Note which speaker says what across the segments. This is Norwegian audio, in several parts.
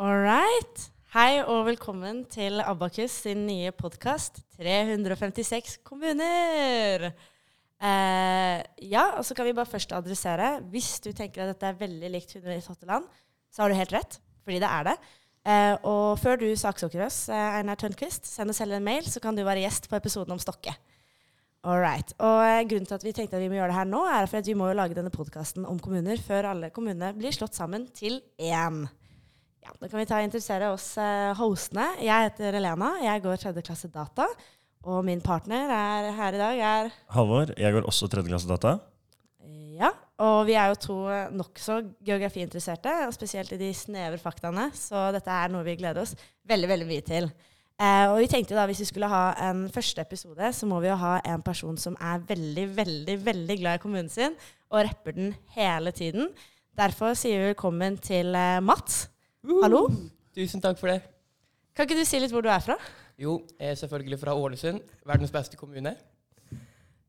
Speaker 1: All right. Hei og velkommen til Abakus sin nye podkast 356 kommuner. Eh, ja, og så kan vi bare først adressere. Hvis du tenker at dette er veldig likt 108 land, så har du helt rett, fordi det er det. Eh, og før du saksøker oss, eh, Einar Tønnquist, send oss heller en mail, så kan du være gjest på episoden om Stokke. All right. Og eh, grunnen til at vi tenkte at vi må gjøre det her nå, er for at vi må jo lage denne podkasten om kommuner før alle kommunene blir slått sammen til én. Ja, da kan vi ta og introdusere oss eh, hostene. Jeg heter Elena, jeg går tredje klasse data. Og min partner er her i dag er
Speaker 2: Halvor, jeg går også tredje klasse data.
Speaker 1: Ja. Og vi er jo to eh, nokså geografiinteresserte, og spesielt i de snevre faktaene. Så dette er noe vi gleder oss veldig, veldig mye til. Eh, og vi tenkte da, hvis vi skulle ha en første episode, så må vi jo ha en person som er veldig, veldig, veldig glad i kommunen sin, og rapper den hele tiden. Derfor sier vi velkommen til eh, Mats. Hallo.
Speaker 3: Tusen takk for det.
Speaker 1: Kan ikke du si litt hvor du er fra?
Speaker 3: Jo, jeg er selvfølgelig fra Ålesund, verdens beste kommune.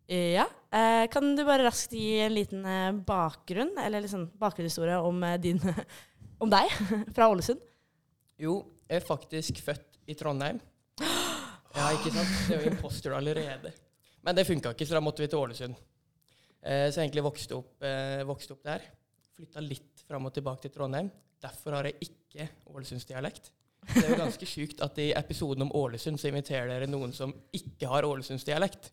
Speaker 1: Ja. Eh, kan du bare raskt gi en liten eh, bakgrunn, eller liksom bakgrunnshistorie om eh, din Om deg, fra Ålesund?
Speaker 3: Jo, jeg er faktisk født i Trondheim. Ja, ikke sant? Det er jo imposter allerede. Men det funka ikke, så da måtte vi til Ålesund. Eh, så jeg egentlig vokste opp, eh, vokste opp der. Flytta litt fram og tilbake til Trondheim. Derfor har jeg ikke Ålesundsdialekt. Det er jo ganske sjukt at i episoden om Ålesund så inviterer dere noen som ikke har Ålesundsdialekt.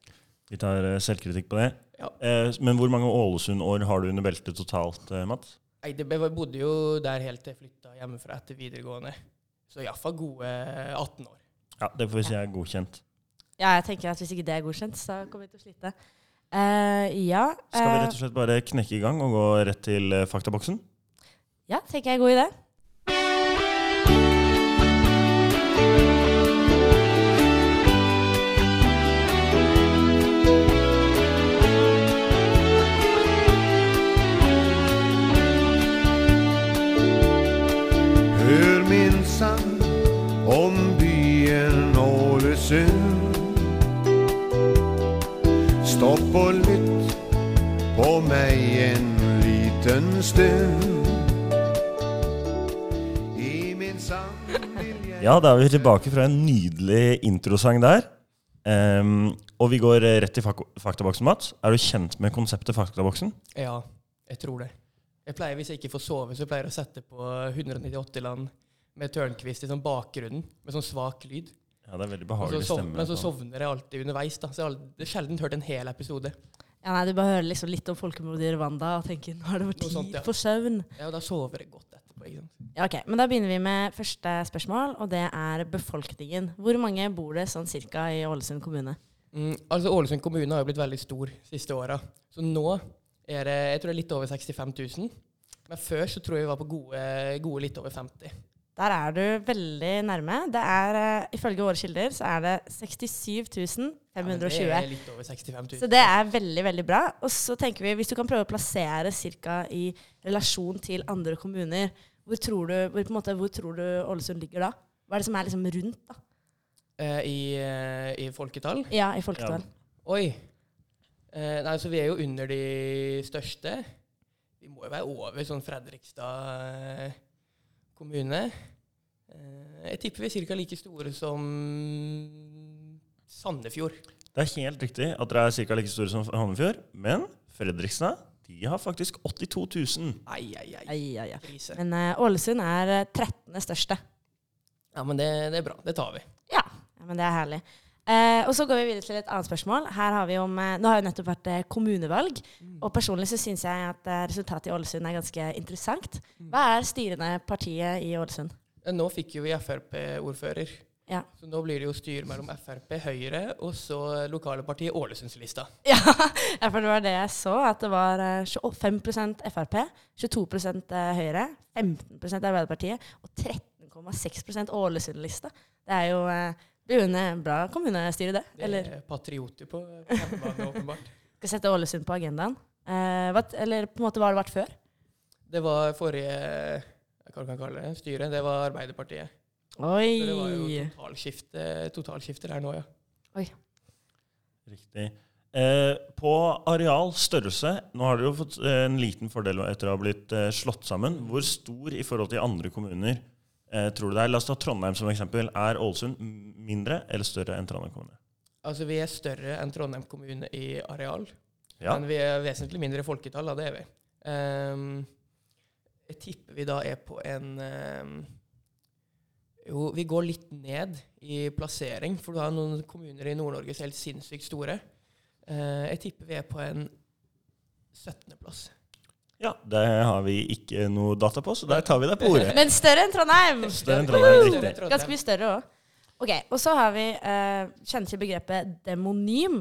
Speaker 2: Vi tar eh, selvkritikk på det.
Speaker 3: Ja.
Speaker 2: Eh, Men hvor mange Ålesund-år har du under beltet totalt, eh, Mats?
Speaker 3: Nei, det, jeg bodde jo der helt til jeg flytta hjemmefra etter videregående. Så iallfall gode 18 år.
Speaker 2: Ja, det får vi si er godkjent.
Speaker 1: Ja, jeg tenker at hvis ikke det er godkjent, så kommer vi til å slite. Eh, ja.
Speaker 2: Skal vi
Speaker 1: eh,
Speaker 2: rett og slett bare knekke i gang og gå rett til eh, faktaboksen?
Speaker 1: Ja, tenker jeg er god idé.
Speaker 4: Hør min sang om byen Ålesund. Stopp og lytt på meg en liten stund. I min sang vil jeg
Speaker 2: Ja, da er vi tilbake fra en nydelig introsang der. Em, og vi går eh, rett til fak faktaboksen, Mats. Er du kjent med konseptet faktaboksen?
Speaker 3: Ja, jeg tror det. Jeg pleier, Hvis jeg ikke får sove, så pleier jeg å sette på 198 land med Tørnquist i sånn bakgrunnen, med sånn svak lyd.
Speaker 2: Ja, det er veldig
Speaker 3: Og så
Speaker 2: behagelig
Speaker 3: sov,
Speaker 2: stemme. altså.
Speaker 3: men så
Speaker 2: på.
Speaker 3: sovner jeg alltid underveis. da, så jeg har aldri- jeg har sjelden hørt en hel episode.
Speaker 1: Ja, nei, Du bare hører liksom litt om folkemordet i Rwanda og tenker nå er det vår
Speaker 3: Noe
Speaker 1: tid
Speaker 3: sånt, ja.
Speaker 1: for søvn.
Speaker 3: Ja, og da sover jeg godt etterpå. ikke sant?
Speaker 1: Ja, ok. Men da begynner vi med første spørsmål, og det er befolkningen. Hvor mange bor det sånn cirka i Ålesund kommune?
Speaker 3: Mm, altså, Ålesund kommune har jo blitt veldig stor siste åra. Så nå er det jeg tror det er litt over 65 000. Men før så tror jeg vi var på gode, gode litt over 50.
Speaker 1: Der er du veldig nærme. Det er, eh, Ifølge våre kilder så er det 67 520.
Speaker 3: Ja, men det er litt over 65
Speaker 1: Så
Speaker 3: 000.
Speaker 1: det er veldig, veldig bra. Og så tenker vi, hvis du kan prøve å plassere cirka i relasjon til andre kommuner, hvor tror du, hvor, på en måte, hvor tror du Ålesund ligger da? Hva er det som er liksom rundt da?
Speaker 3: Eh, i, eh, I folketall.
Speaker 1: Ja, i folketall.
Speaker 3: Oi. Eh, nei, så vi er jo under de største. Vi må jo være over sånn Fredrikstad eh, kommune. Eh, jeg tipper vi er ca. like store som Sandefjord.
Speaker 2: Det er helt riktig at dere er ca. like store som Hannefjord, men Fredrikstad de har faktisk 82 000.
Speaker 3: Ai, ai, ai.
Speaker 1: Ai, ai, ai.
Speaker 3: Krise.
Speaker 1: Men eh, Ålesund er eh, 13. største.
Speaker 3: Ja, men det, det er bra. Det tar vi.
Speaker 1: Ja, ja, men det er herlig. Eh, og så går vi videre til et annet spørsmål. Her har vi om, eh, nå har jo nettopp vært eh, kommunevalg,
Speaker 3: Mm.
Speaker 1: og personlig så syns jeg at eh, resultatet i Ålesund er ganske interessant.
Speaker 3: Mm.
Speaker 1: Hva er styrende partiet i Ålesund?
Speaker 3: Eh, Nå fikk jo vi Frp-ordfører.
Speaker 1: Ja.
Speaker 3: Så nå blir det jo styr mellom Frp, Høyre og så lokale partiet Ålesundslista.
Speaker 1: Ja, ja, for det var det jeg så, at det var eh, 25 Frp, 22 eh, Høyre, 15 Arbeiderpartiet og 13,6 Ålesund-lista. Det er jo eh, blir jo en bra kommunestyre, det.
Speaker 3: Det
Speaker 1: Eller
Speaker 3: er patrioter på på hjemmebane, åpenbart.
Speaker 1: skal sette Ålesund på agendaen. Eh, hva, eller på en måte hva har det vært før?
Speaker 3: Det var forrige hva kan jeg kalle det, styret. Det var Arbeiderpartiet. Så det var jo
Speaker 1: Oi!
Speaker 3: totalskifte, totalskifte der nå, ja.
Speaker 2: Riktig. Eh, på areal, størrelse Nå har dere jo fått eh, en liten fordel etter å ha blitt eh, slått sammen. Hvor stor i forhold til andre kommuner eh, tror du det er? La oss ta Trondheim som eksempel. Er Ålesund mindre eller større enn Trondheim kommune?
Speaker 3: Altså, vi er større enn Trondheim kommune i areal,
Speaker 2: Ja.
Speaker 3: men vi er vesentlig mindre folketall, da, det er vi. Ehm, jeg tipper vi da er på en ehm, Jo, vi går litt ned i plassering, for du har noen kommuner i Nord-Norge som er helt sinnssykt store. Eh, jeg tipper vi er på en 17.-plass.
Speaker 2: ja. Det har vi ikke noe data på, så der tar vi deg på ordet.
Speaker 1: Men større enn Trondheim!
Speaker 2: Større enn Trondheim,
Speaker 3: Større enn
Speaker 2: riktig.
Speaker 3: Trondheim.
Speaker 1: Ganske mye større òg. Ok, og så har vi eh, Kjenner til begrepet demonym.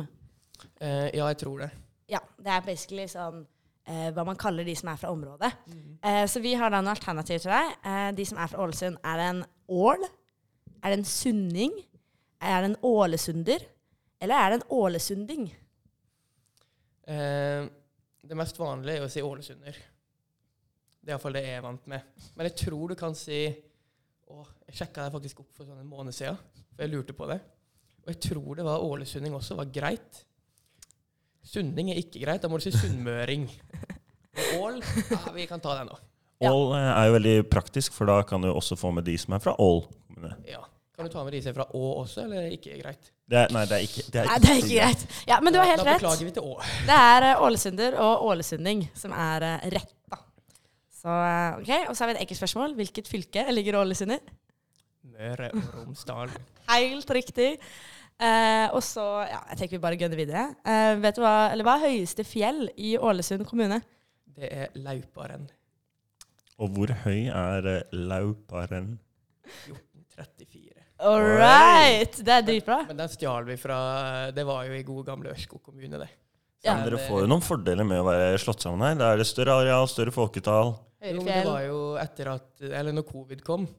Speaker 3: Eh, ja, jeg tror det.
Speaker 1: Ja, det er basically sånn eh, hva man kaller de som er fra området. Eh, så vi har da noen alternativer til deg. Eh, de som er fra Ålesund, er det en ål? Er det en sunning? Er det en ålesunder? Eller er det en ålesunding?
Speaker 3: Eh, det mest vanlige er å si Ålesunder. Det er iallfall det jeg er vant med. Men jeg tror du kan si å, Jeg sjekka det faktisk opp for sånn en måned siden, for jeg lurte på det. Og jeg tror det var ålesunding også var greit. Sunding er ikke greit. Da må du si sunnmøring. Og Ål ja, Vi kan ta den nå.
Speaker 1: Ja.
Speaker 2: Ål eh, er jo veldig praktisk, for da kan du også få med de som er fra Ål kommune.
Speaker 3: Ja. Kan du ta med de som er fra Å også, eller ikke er greit?
Speaker 2: Det er, nei, det er ikke, det er
Speaker 1: Nei,
Speaker 2: ikke,
Speaker 1: det er ikke greit. Ja, men du har helt
Speaker 3: da, da
Speaker 1: rett.
Speaker 3: beklager vi til Å.
Speaker 1: Det er eh, ålesunder og ålesunding som er eh, rett, da. Så eh, ok, Og så har vi et enkelt spørsmål. Hvilket fylke ligger Ålesund i?
Speaker 3: Møre og Romsdal.
Speaker 1: Helt riktig. Eh, og så Ja, jeg tenker vi bare gønner videre. Eh, vet du hva, eller hva er høyeste fjell i Ålesund kommune?
Speaker 3: Det er Lauparen.
Speaker 2: Og hvor høy er eh, Lauparen?
Speaker 3: 1434.
Speaker 1: All right! Det er dritbra.
Speaker 3: Men den stjal vi fra Det var jo i gode gamle Ørskog kommune, det.
Speaker 1: Ja.
Speaker 2: Men dere får jo noen fordeler med å være slått sammen her. Da er det større areal, større folketall.
Speaker 3: Jo,
Speaker 1: Høyre
Speaker 3: men det
Speaker 1: fjell.
Speaker 3: var jo etter at Eller når covid kom,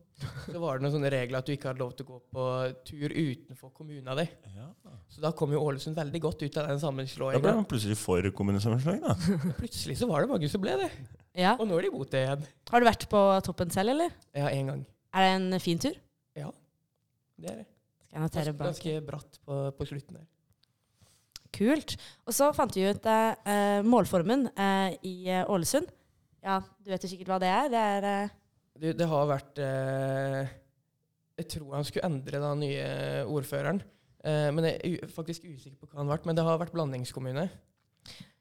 Speaker 3: så var det noen sånne regler at du ikke hadde lov til å gå på tur utenfor kommunen din.
Speaker 2: Ja.
Speaker 3: Så da kom jo Ålesund veldig godt ut av den
Speaker 2: Da ble
Speaker 3: sammenslåinga.
Speaker 2: man plutselig for kommunesammenslåing, da.
Speaker 3: Plutselig så var det mange som ble det.
Speaker 1: Ja.
Speaker 3: Og nå er de imot det igjen.
Speaker 1: Har du vært på toppen selv, eller?
Speaker 3: Ja, én gang.
Speaker 1: Er det en fin tur?
Speaker 3: Ja. Det er det.
Speaker 1: Skal jeg notere
Speaker 3: Ganske,
Speaker 1: bak.
Speaker 3: ganske bratt på, på slutten der.
Speaker 1: Kult. Og så fant vi ut eh, eh, målformen eh, i eh, Ålesund. Ja, du vet jo sikkert hva det er. Det er eh,
Speaker 3: Det, det har vært eh, Jeg tror han skulle endre den nye ordføreren. Eh, men jeg er u faktisk usikker på hva han har vært. Men det har vært blandingskommune.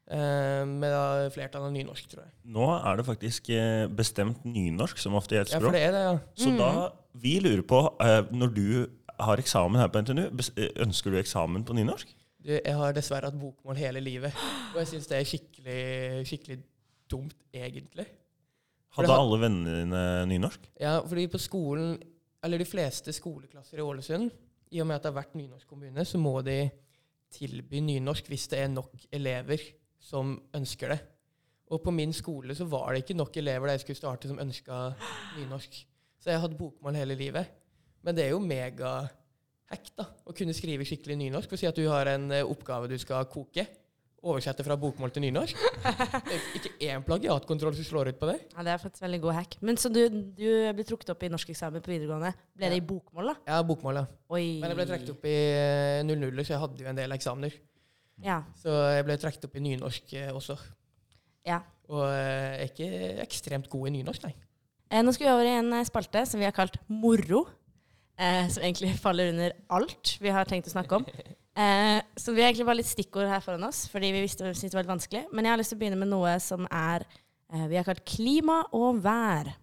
Speaker 3: Eh, med da flertall av nynorsk, tror jeg.
Speaker 2: Nå er det faktisk eh, bestemt nynorsk som offisielt
Speaker 3: Ja, for
Speaker 2: språk.
Speaker 3: det Mm. er det, ja.
Speaker 2: Så da vi lurer på, eh, når du har eksamen her på NTNU, bes- eh, ønsker du eksamen på nynorsk?
Speaker 3: Du, jeg har dessverre hatt bokmål hele livet. Og jeg syns det er skikkelig, skikkelig dumt, egentlig. For
Speaker 2: Hadde
Speaker 3: det har-
Speaker 2: alle vennene dine nynorsk?
Speaker 3: Ja, fordi på skolen, eller de fleste skoleklasser i Ålesund, i og med at det har vært nynorsk kommune, så må de tilby nynorsk hvis det er nok elever som ønsker det. Og på min skole så var det ikke nok elever da jeg skulle starte, som ønska nynorsk. Så jeg hadde bokmål hele livet. Men det er jo megahack da, å kunne skrive skikkelig nynorsk. Og si at du har en eh, oppgave du skal koke. Oversette fra bokmål til nynorsk. Det er ikke én plagiatkontroll som slår ut på det.
Speaker 1: Ja, det er faktisk veldig god hack. Men så du, du ble trukket opp i norskeksamen på videregående. Ble det i bokmål, da?
Speaker 3: Ja, bokmål, ja.
Speaker 1: Oi.
Speaker 3: Men jeg ble trukket opp i eh, 00, så jeg hadde jo en del eksamener.
Speaker 1: Ja.
Speaker 3: Så jeg ble trukket opp i nynorsk eh, også.
Speaker 1: ja.
Speaker 3: Og eh, jeg er ikke ekstremt god i nynorsk, nei.
Speaker 1: Eh, nå skal vi over i en eh, spalte som vi har kalt Moro. Eh, som egentlig faller under alt vi har tenkt å snakke om. Eh, så vi har egentlig bare litt stikkord her foran oss, fordi vi visste syntes det var litt vanskelig. Men jeg har lyst til å begynne med noe som er eh, vi har kalt klima og vær.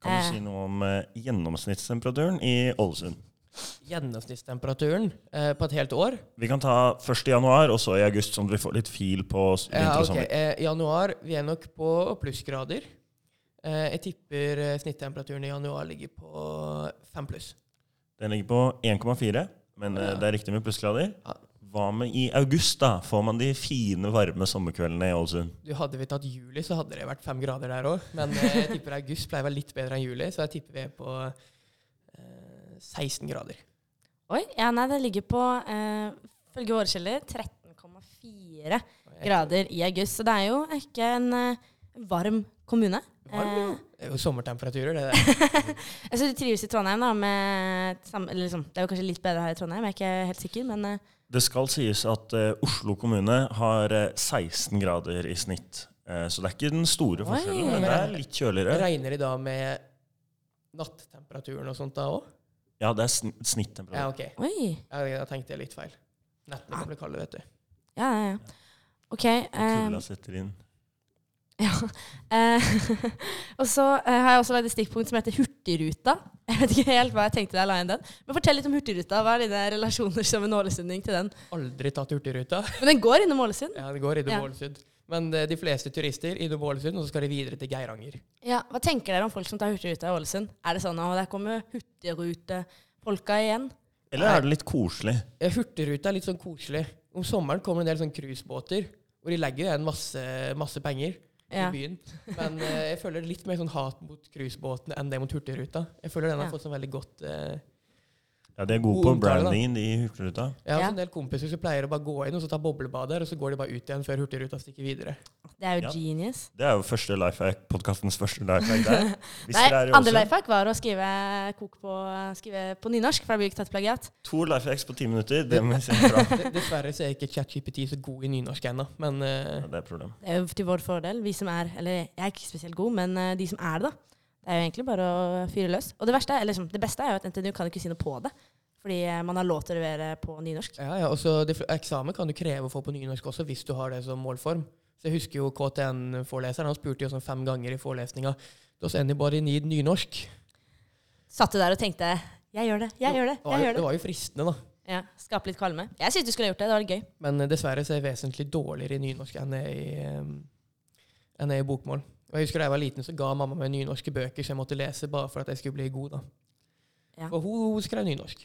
Speaker 2: Kan
Speaker 1: Eh.
Speaker 2: du si noe om eh, gjennomsnittstemperaturen i Ålesund?
Speaker 3: Gjennomsnittstemperaturen eh, på et helt år
Speaker 2: Vi kan ta 1. januar, og så i august, sånn at vi får litt fil på s-
Speaker 3: ja,
Speaker 2: vinter og
Speaker 3: ok.
Speaker 2: sommer.
Speaker 3: eh, Januar, vi er nok på plussgrader. Eh, jeg tipper eh, snittemperaturen i januar ligger på fem pluss.
Speaker 2: Den ligger på 1,4, men eh,
Speaker 3: Ja.
Speaker 2: det er riktig med plussgrader.
Speaker 3: Ja.
Speaker 2: Hva med i august, da? Får man de fine, varme sommerkveldene i Ålesund?
Speaker 3: Du Hadde vi tatt juli, så hadde det vært fem grader der òg. Men eh, jeg tipper august pleier å være litt bedre enn juli, så jeg tipper vi er på eh, 16 grader.
Speaker 1: Oi, ja, nei, det ligger på, eh, følge våre kilder, 13,4
Speaker 3: Jeg
Speaker 1: grader i august. Så det er jo ikke en eh, varm kommune.
Speaker 3: Varm,
Speaker 1: Eh,
Speaker 3: ja. Det er jo sommertemperaturer, det der.
Speaker 1: Jeg synes du trives i Trondheim, da. Med, sam- eller liksom, det er jo kanskje litt bedre her i Trondheim, jeg er ikke helt sikker. Men eh,
Speaker 2: Det skal sies at eh, Oslo kommune har eh, 16 grader i snitt. Eh, så det er ikke den store
Speaker 1: Oi.
Speaker 2: forskjellen, men det er litt kjøligere.
Speaker 3: Regner de da med nattemperaturen og sånt da òg?
Speaker 2: Ja, det er sn snittemperatur.
Speaker 3: Ja, Ah. OK.
Speaker 1: Oi.
Speaker 3: Ja, da tenkte jeg litt feil. Nettene kan bli kalde, vet du.
Speaker 1: Ja, ja, ja. OK. eh,
Speaker 2: Kulda setter inn.
Speaker 1: Ja. Eh, og så eh, har jeg også lagd et stikkpunkt som heter Hurtigruta. Jeg vet ikke helt hva jeg tenkte da jeg la inn den. Men fortell litt om Hurtigruta. Hva er dine relasjoner som en ålesunding til den?
Speaker 3: Aldri tatt Hurtigruta.
Speaker 1: Men den går innom Ålesund?
Speaker 3: Ja, det
Speaker 1: Ja.
Speaker 3: går innom Ålesund. Men eh, de fleste turister innom Ålesund, og så skal de videre til Geiranger.
Speaker 1: Ja. Hva tenker dere om folk som tar Hurtigruta i Ålesund? Er det sånn at der kommer Hurtigrutefolka igjen?
Speaker 2: Eller er det litt koselig?
Speaker 3: Eh, Hurtigruta er litt sånn koselig. Om sommeren kommer det en del sånn cruisebåter, hvor de legger igjen masse, masse penger
Speaker 1: Ja.
Speaker 3: i byen. Men eh, jeg føler litt mer sånn hat mot cruisebåtene enn det mot Hurtigruta. Jeg føler den har
Speaker 1: Ja.
Speaker 3: fått sånn veldig godt eh,
Speaker 2: Ja, De er gode på
Speaker 3: God omtale, da.
Speaker 2: brandingen, de Hurtigruta.
Speaker 3: Jeg har
Speaker 1: Ja.
Speaker 3: også en del kompiser som pleier å bare gå inn og så ta boblebad der, og så går de bare ut igjen før Hurtigruta stikker videre.
Speaker 1: Det er jo
Speaker 2: Ja.
Speaker 1: genius.
Speaker 2: Det er jo første lifehack, podkastens første lifehack der. Hvis
Speaker 1: Nei,
Speaker 2: dere er i
Speaker 1: andre
Speaker 2: Ålesund,
Speaker 1: lifehack var å skrive, kok på, skrive på nynorsk, for da blir det ikke tatt plagiat.
Speaker 2: To lifehacks på ti minutter, det må vi se fra.
Speaker 3: D- Dessverre så er ikke ChatGPT så god i nynorsk ennå, men eh,
Speaker 2: Ja, det er et problem.
Speaker 1: Det er jo til vår fordel. Vi som er Eller jeg er ikke spesielt god, men eh, de som er det, da. Det er jo egentlig bare å fyre løs. Og det, verste, er- eller, liksom, det beste er jo at NTNU kan ikke si noe på det. Fordi eh, man har lov til å levere på nynorsk.
Speaker 3: ja, ja, og så de fl- eksamen kan du kreve å få på nynorsk også, hvis du har det som målform. Så jeg husker jo KTN-foreleseren, han spurte jo sånn fem ganger i forelesninga Does anybody need nynorsk?
Speaker 1: Satt du der og tenkte 'jeg gjør det, jeg gjør det',
Speaker 3: Det var,
Speaker 1: jeg
Speaker 3: jo-
Speaker 1: gjør
Speaker 3: det
Speaker 1: det.
Speaker 3: var jo fristende, da.
Speaker 1: Ja, Skape litt kvalme. Jeg syns du skulle gjort det. Det var litt gøy.
Speaker 3: Men eh, dessverre så er jeg vesentlig dårligere i nynorsk enn jeg er i, eh, enn jeg er i bokmål. Og jeg husker Da jeg var liten, så ga mamma meg nynorske bøker som jeg måtte lese bare for at jeg skulle bli god. da.
Speaker 1: Ja.
Speaker 3: Og hun, hun skrev nynorsk.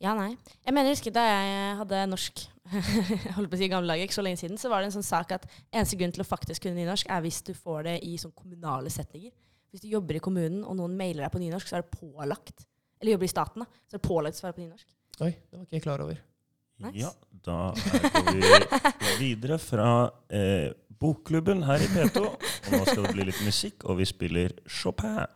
Speaker 1: Ja, nei. Jeg mener, jeg husker da jeg hadde norsk jeg holdt på å si i gamle dager, ikke så lenge siden, så var det en sånn sak at eneste grunn til å faktisk kunne nynorsk, er hvis du får det i sånn kommunale setninger. Hvis du jobber i kommunen, og noen mailer deg på nynorsk, så er det pålagt. Eller jobber i staten, da. Så er det pålagt å svare på nynorsk.
Speaker 3: Oi, det var ikke jeg klar over.
Speaker 1: Nice.
Speaker 2: Ja, da er- går vi videre fra eh, bokklubben her i P2. Og nå skal det bli litt musikk, og vi spiller Chopin.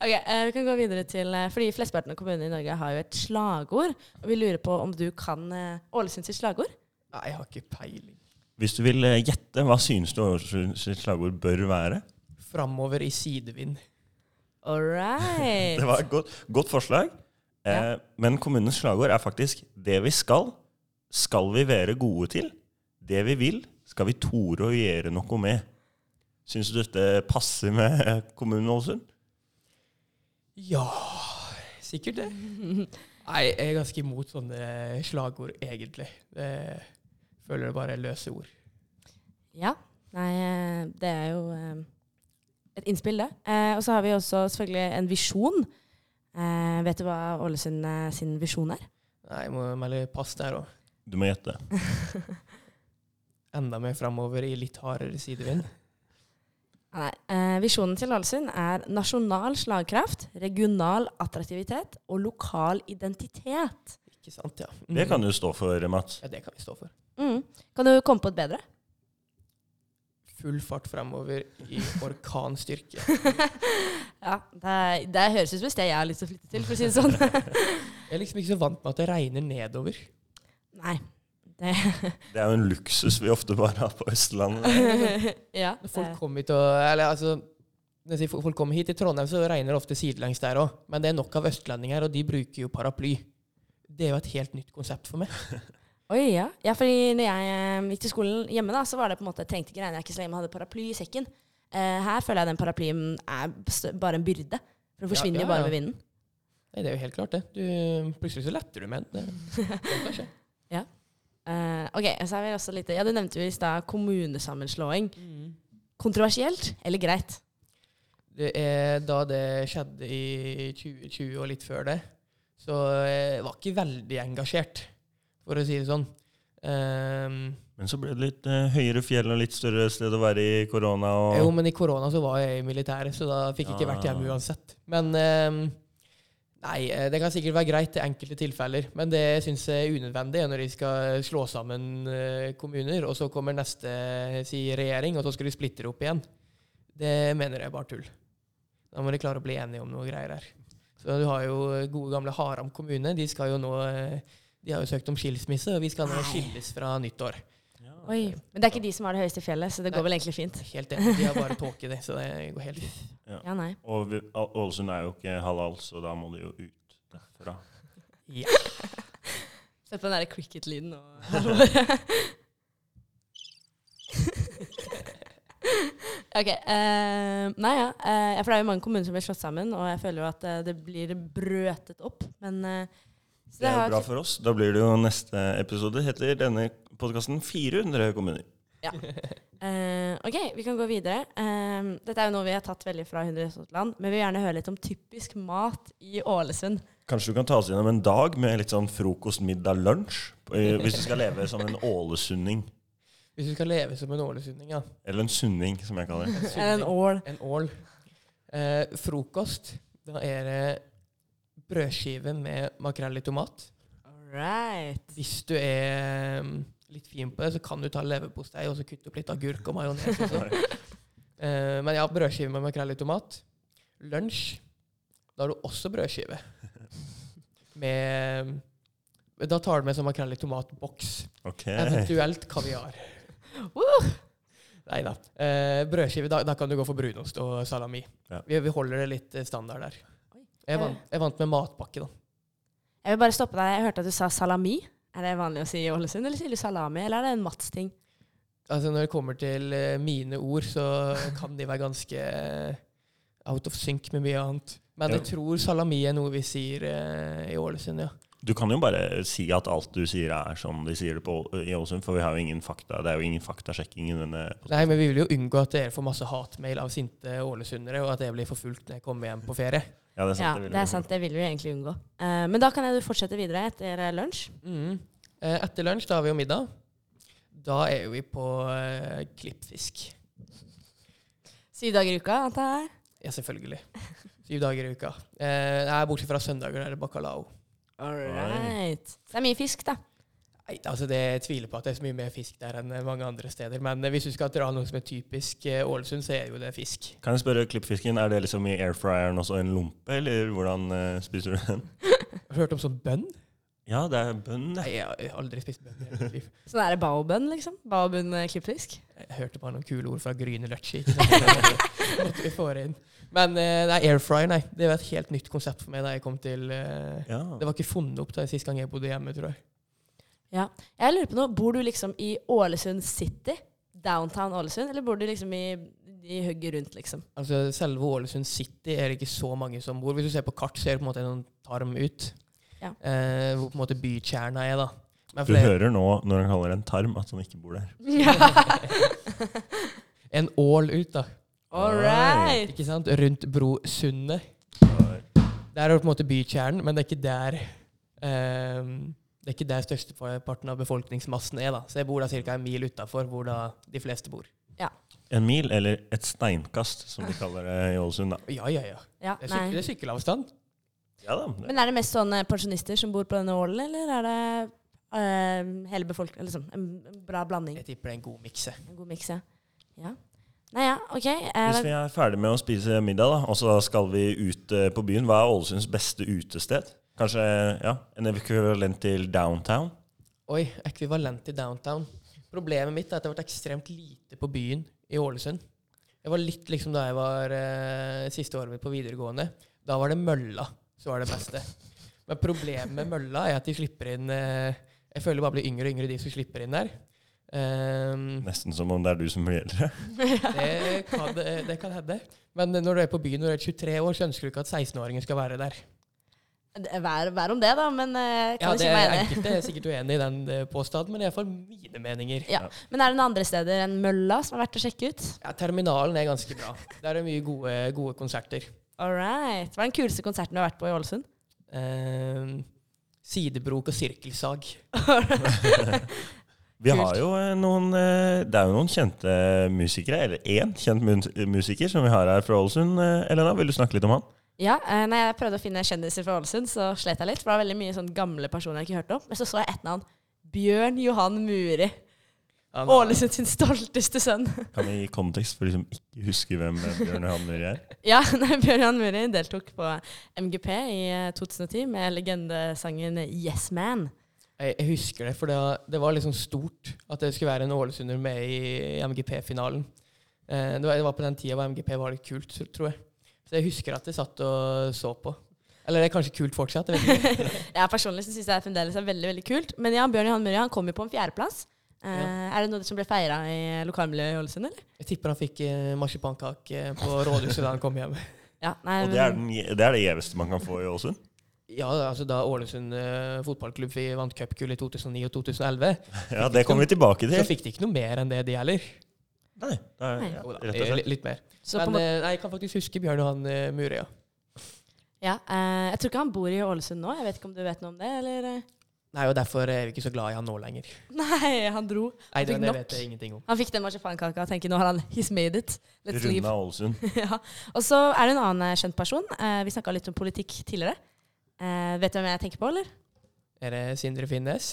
Speaker 1: ok, eh, Vi kan gå videre til eh, Fordi flesteparten av kommunene i Norge har jo et slagord. Og vi lurer på om du kan eh, Ålesund sitt slagord?
Speaker 3: Nei, jeg har ikke peiling.
Speaker 2: Hvis du vil eh, gjette, hva synes du Ålesunds slagord bør være?
Speaker 3: Framover i sidevind.
Speaker 1: All right.
Speaker 2: Det var et godt, godt forslag. Eh,
Speaker 1: Ja.
Speaker 2: Men kommunens slagord er faktisk 'Det vi skal, skal vi være gode til'. 'Det vi vil, skal vi tore å gjøre noe med'. Syns du dette passer med kommunen Ålesund?
Speaker 3: Ja Sikkert det. Nei, jeg er ganske imot sånne eh, slagord, egentlig. Det føler det bare er løse ord.
Speaker 1: Ja. Nei, eh, det er jo eh, et innspill, det. Eh, Og så har vi også selvfølgelig en visjon. Eh, Vet du hva Ålesund eh, sin visjon er?
Speaker 3: Nei, jeg må melde pass der òg.
Speaker 2: Du må gjette.
Speaker 3: Enda mer framover i litt hardere sidevind.
Speaker 1: Nei. eh, Visjonen til Ålesund er nasjonal slagkraft, regional attraktivitet og lokal identitet.
Speaker 3: Ikke sant, ja.
Speaker 2: Det kan du stå for, Mats.
Speaker 3: Ja, det kan vi stå for.
Speaker 1: Mm. Kan du komme på et bedre?
Speaker 3: Full fart fremover i orkanstyrke.
Speaker 1: ja, det, er- det høres ut som et sted jeg har lyst til å flytte til, for å si det sånn.
Speaker 3: Jeg er liksom ikke så vant med at det regner nedover.
Speaker 1: Nei. Det,
Speaker 2: Det er jo en luksus vi ofte bare har på Østlandet.
Speaker 1: ja,
Speaker 3: Når
Speaker 1: det-
Speaker 3: folk kommer hit og Eller altså når jeg sier fo- folk kommer hit til Trondheim, så regner det ofte sidelengs der òg. Men det er nok av østlendinger, og de bruker jo paraply. Det er jo et helt nytt konsept for meg.
Speaker 1: Oi, ja. ja, fordi når jeg eh, gikk til skolen hjemme, da, så var det på en måte, jeg tenkte ikke, nei, jeg er ikke så lenge man hadde paraply i sekken. Eh, her føler jeg den paraplyen er best- bare en byrde. For det
Speaker 3: Ja,
Speaker 1: forsvinner
Speaker 3: ja,
Speaker 1: jo bare
Speaker 3: ja.
Speaker 1: med vinden.
Speaker 3: Nei, det er jo helt klart, det. Du, plutselig så letter du med den. Det, det kan skje.
Speaker 1: Eh, ok, så er vi også litt, ja, Du nevnte jo i stad kommunesammenslåing. Kontroversielt eller greit?
Speaker 3: Det er da det skjedde i 2020 og litt før det, så jeg var ikke veldig engasjert, for å si det sånn. Ehm,
Speaker 2: Men så ble det litt eh, høyere fjell og litt større sted å være i korona.
Speaker 3: Jo,
Speaker 2: Og
Speaker 3: men i korona så var jeg i militæret, så da fikk jeg ikke vært hjemme
Speaker 2: Ah.
Speaker 3: uansett. Men ehm, Nei, eh, det kan sikkert være greit i enkelte tilfeller, men det jeg syns er unødvendig, er når de skal slå sammen eh, kommuner, og så kommer neste eh, si, regjering, og så skal de splitte det opp igjen. Det mener jeg er bare tull. Da må de klare å bli enige om noe greier her. Så du har jo gode gamle Haram kommune. De skal jo nå eh, De har jo søkt om skilsmisse, og vi skal nå skilles fra nyttår.
Speaker 1: Oi. Men det er ikke de som har det høyeste fjellet, så det går vel egentlig fint.
Speaker 3: Helt enig, de har bare tåke, de, så det går helt
Speaker 1: Ja, nei.
Speaker 2: Og vi- Å- Ålesund er jo ikke halal, så da må de jo ut derfra.
Speaker 3: Ja.
Speaker 1: Se på den der cricket-lyden nå. ok. eh, nei, ja. eh, for det er jo mange kommuner som blir slått sammen, og jeg føler jo at eh, det blir brøtet opp. Men eh, så
Speaker 2: Det er
Speaker 1: har-
Speaker 2: jo bra for oss. Da blir det jo neste episode heter denne podkasten 400 kommuner.
Speaker 1: Eh, ok, vi kan gå videre. Eh, dette er jo noe vi har tatt veldig fra 100 Sotland, men vi vil gjerne høre litt om typisk mat i Ålesund.
Speaker 2: Kanskje du kan ta oss gjennom en dag med litt sånn frokost, middag, lunsj? eh, Hvis du skal leve som en ålesunding.
Speaker 3: Hvis du skal leve som en ålesunding, ja.
Speaker 2: Eller en sunding, som jeg kaller det.
Speaker 1: Er det en ål?
Speaker 3: En ål. Eh, frokost, da er det brødskive med makrell i tomat.
Speaker 1: Alright.
Speaker 3: Hvis du er mm, litt fin på det, så kan du ta leverpostei og så kutte opp litt agurk og majones. også. Eh, men ja, brødskive med makrell i tomat. Lunsj. Da har du også brødskive. Med Da tar du med sånn makrell i tomat-boks.
Speaker 2: Ok.
Speaker 3: Eventuelt kaviar.
Speaker 1: Uh!
Speaker 3: Nei da. Eh, brødskive, da, da kan du gå for brunost og salami.
Speaker 2: Ja.
Speaker 3: Vi, vi holder det litt eh, standard der. Jeg vant, jeg vant med matpakke, da.
Speaker 1: Jeg vil bare stoppe deg. Jeg hørte at du sa salami. Er det vanlig å si i Ålesund, eller sier du salami? Eller er det en Mats-ting?
Speaker 3: Altså Når det kommer til eh, mine ord, så kan de være ganske eh, out of sync med mye annet. Men
Speaker 2: Ja.
Speaker 3: jeg tror salami er noe vi sier eh, i Ålesund, ja.
Speaker 2: Du kan jo bare si at alt du sier, er som de sier det på, i Ålesund, for vi har jo ingen fakta. Det er jo ingen faktasjekking i denne podcasten.
Speaker 3: Nei, men vi vil jo unngå at dere får masse hatmail av sinte ålesundere, og at jeg blir forfulgt når jeg kommer hjem på ferie.
Speaker 2: Ja, det er sant.
Speaker 1: Ja,
Speaker 2: vil
Speaker 1: det
Speaker 2: jeg
Speaker 1: er sant. Det vil vi egentlig unngå. Eh, men da kan jeg jo fortsette videre etter eh, lunsj.
Speaker 3: Mm. Eh, Etter lunsj da har vi jo middag. Da er vi på eh, klippfisk.
Speaker 1: Syv dager i uka, antar jeg.
Speaker 3: Ja, selvfølgelig. Syv dager i uka. Eh, nei, bortsett fra søndager, der er det bacalao.
Speaker 1: Alright. Så det er mye fisk, da.
Speaker 3: Nei, altså det jeg tviler på at det er så mye mer fisk der enn eh, mange andre steder. Men eh, hvis du skal dra noe som er typisk eh, Ålesund, så er jo det fisk.
Speaker 2: Kan jeg spørre klippfisken, er det liksom i airfryeren også en lompe, eller hvordan eh, spiser du den?
Speaker 3: Har du hørt om sånn bønn?
Speaker 2: Ja, det er bønn, det.
Speaker 3: Nei, jeg har aldri spist bønn i hele mitt liv.
Speaker 1: Sånn er det baobønn, liksom. Baobunn-klippfisk.
Speaker 3: Jeg hørte bare noen kule ord fra Gryne Lutschi. ikke sant? Det Måtte vi få det inn. Men eh, nei, air fry, nei. Det var et helt nytt konsept for meg da jeg kom til eh,
Speaker 2: Ja.
Speaker 3: Det var ikke funnet opp da sist gang jeg bodde hjemme, tror jeg.
Speaker 1: Jeg lurer på noe, Bor du liksom i Ålesund City? Downtown Ålesund? Eller bor du liksom i, i hugget rundt, liksom?
Speaker 3: Altså, selve Ålesund City er det ikke så mange som bor. Hvis du ser på kart, ser du på en måte en tarm ut.
Speaker 1: Ja.
Speaker 3: Eh, hvor på en måte bykjerna er, da. Men
Speaker 2: Du
Speaker 3: flere-
Speaker 2: hører nå, når han kaller en tarm, at han ikke bor der.
Speaker 3: En ål ut, da.
Speaker 1: All right.
Speaker 3: Ikke sant? Rundt Brosundet. Der er det på en måte bykjernen, men det er ikke der eh, Det er ikke der størsteparten av befolkningsmassen er, da. Så jeg bor da ca. en mil utafor hvor da de fleste bor.
Speaker 2: En mil, eller et steinkast, som de kaller det i Ålesund, da.
Speaker 3: Ja, ja, ja.
Speaker 1: Ja,
Speaker 3: Det er, syk
Speaker 1: nei.
Speaker 3: det er sykkelavstand.
Speaker 2: Ja da. det-
Speaker 1: Men er det mest sånne pensjonister som bor på denne ålen, eller er det eh, hele befolkningen Liksom en en bra blanding.
Speaker 3: Jeg tipper det er en god mikse.
Speaker 1: En god miks, ja. ja. Nei ja, OK. Eh,
Speaker 2: Hvis vi er ferdig med å spise middag, da, og så skal vi ut eh, på byen, hva er Ålesunds beste utested? Kanskje ja, en ekvivalent til downtown?
Speaker 3: Oi, ekvivalent til downtown. Problemet mitt er at det har vært ekstremt lite på byen i Ålesund. Jeg var litt liksom da jeg var eh, siste året mitt på videregående. Da var det mølla som var det beste. Men problemet med mølla er at de slipper inn eh, Jeg føler bare blir yngre og yngre de som slipper inn der. Ehm,
Speaker 2: Nesten som om det er du som blir eldre.
Speaker 3: det kan, det kan hende. Men når du er på byen når du er 23 år, så ønsker du ikke at 16-åringer skal være der.
Speaker 1: det- vær, vær om det, da, men eh,
Speaker 3: Ja,
Speaker 1: kan
Speaker 3: det
Speaker 1: ikke
Speaker 3: er
Speaker 1: meg enig.
Speaker 3: Enkelte er sikkert uenig i den eh, påstanden, men det er iallfall mine meninger.
Speaker 1: Ja. Men er det noen andre steder enn Mølla som er verdt å sjekke ut?
Speaker 3: Ja, terminalen er ganske bra. Der er mye gode, gode konserter.
Speaker 1: All right. Hva er den kuleste konserten du har vært på i Ålesund?
Speaker 3: Ehm, sidebrok og sirkelsag.
Speaker 2: Vi
Speaker 3: Kult.
Speaker 2: har jo eh, noen eh, Det er jo noen kjente musikere, eller én kjent mun- musiker som vi har her fra Ålesund. Eh, Elena, vil du snakke litt om han?
Speaker 1: Ja, eh, nei, Jeg prøvde å finne kjendiser fra Ålesund, så slet jeg litt. For det var veldig mye sånn gamle personer jeg ikke hørte om. Men så så jeg ett navn. Bjørn Johan Muri.
Speaker 3: Han har-
Speaker 1: Ålesund sin stolteste sønn.
Speaker 2: Kan vi gi kontekst for de som ikke husker hvem eh, Bjørn Hamner er?
Speaker 1: Ja, nei, Bjørn Johan Muri deltok på MGP i eh, 2010 med legendesangen Yes Man.
Speaker 3: Jeg, jeg husker det, for det, det var liksom stort at det skulle være en ålesunder med i MGP-finalen. Eh, det, var, det var på den tida hvor MGP var litt kult, så- tror jeg. Så jeg husker at jeg satt og så på. Eller det er kanskje kult fortsatt. Jeg vet ikke.
Speaker 1: Jeg personlig syns jeg fremdeles er veldig veldig kult. Men ja, Bjørn Johan Murray han kom jo på en fjerdeplass. Eh, Er det noe som ble feira i lokalmiljøet i Ålesund, eller?
Speaker 3: Jeg tipper han fikk eh, marsipankake på rådhuset da han kom hjem.
Speaker 1: Ja, nei,
Speaker 2: Og det er, den, det er det gjeveste man kan få i Ålesund.
Speaker 3: Ja, altså Da Ålesund eh, fotballklubb vi vant cupgull i 2009 og 2011,
Speaker 2: Ja, det kommer vi tilbake
Speaker 3: så
Speaker 2: til.
Speaker 3: fikk de ikke noe mer enn det, de heller.
Speaker 2: Nei, det er, ja,
Speaker 3: Jo da,
Speaker 2: rett og slett.
Speaker 3: eh, Litt mer.
Speaker 1: så på en
Speaker 3: Men
Speaker 1: måte,
Speaker 3: eh, nei, jeg kan faktisk huske Bjørn Johan eh, Murøya.
Speaker 1: ja, eh, jeg tror ikke han bor i Ålesund nå. Jeg vet ikke om du vet noe om det, eller? eh?
Speaker 3: Nei, og Derfor er vi ikke så glad i han nå lenger.
Speaker 1: Nei, han dro.
Speaker 3: Nei,
Speaker 1: Fikk
Speaker 3: det, det
Speaker 1: nok.
Speaker 3: vet jeg ingenting om.
Speaker 1: Han fikk den marsipankaka og tenker nå har han He's made it. Let's leave.
Speaker 2: Runda Ålesund.
Speaker 1: ja. Og så er det en annen eh, kjent person. Eh, vi snakka litt om politikk tidligere. Eh, vet du hvem jeg tenker på, eller?
Speaker 3: Er det Sindre Finnes?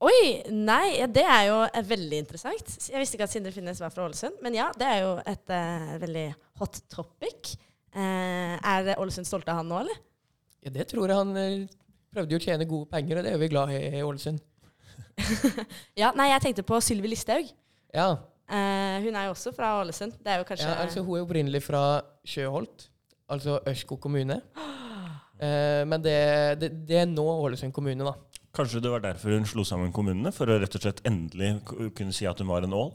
Speaker 1: Oi! Nei, ja, det er jo eh, veldig interessant. S- Jeg visste ikke at Sindre Finnes var fra Ålesund. Men ja, det er jo et eh, veldig hot topic. Eh, er Ålesund stolte av han nå, eller?
Speaker 3: Ja, det tror jeg han eh, prøvde jo å tjene gode penger, og det er jo vi glad i i Ålesund.
Speaker 1: Ja, nei, jeg tenkte på Sylvi Listhaug.
Speaker 3: Ja,
Speaker 1: Eh, hun er jo også fra Ålesund. Det er jo kanskje
Speaker 3: ja altså Hun er opprinnelig fra Sjøholt, altså Ørskog kommune. Eh, men det, det, det er nå Ålesund kommune, da.
Speaker 2: Kanskje det var derfor hun slo sammen kommunene? For å rett og slett endelig k- kunne si at hun var en ål?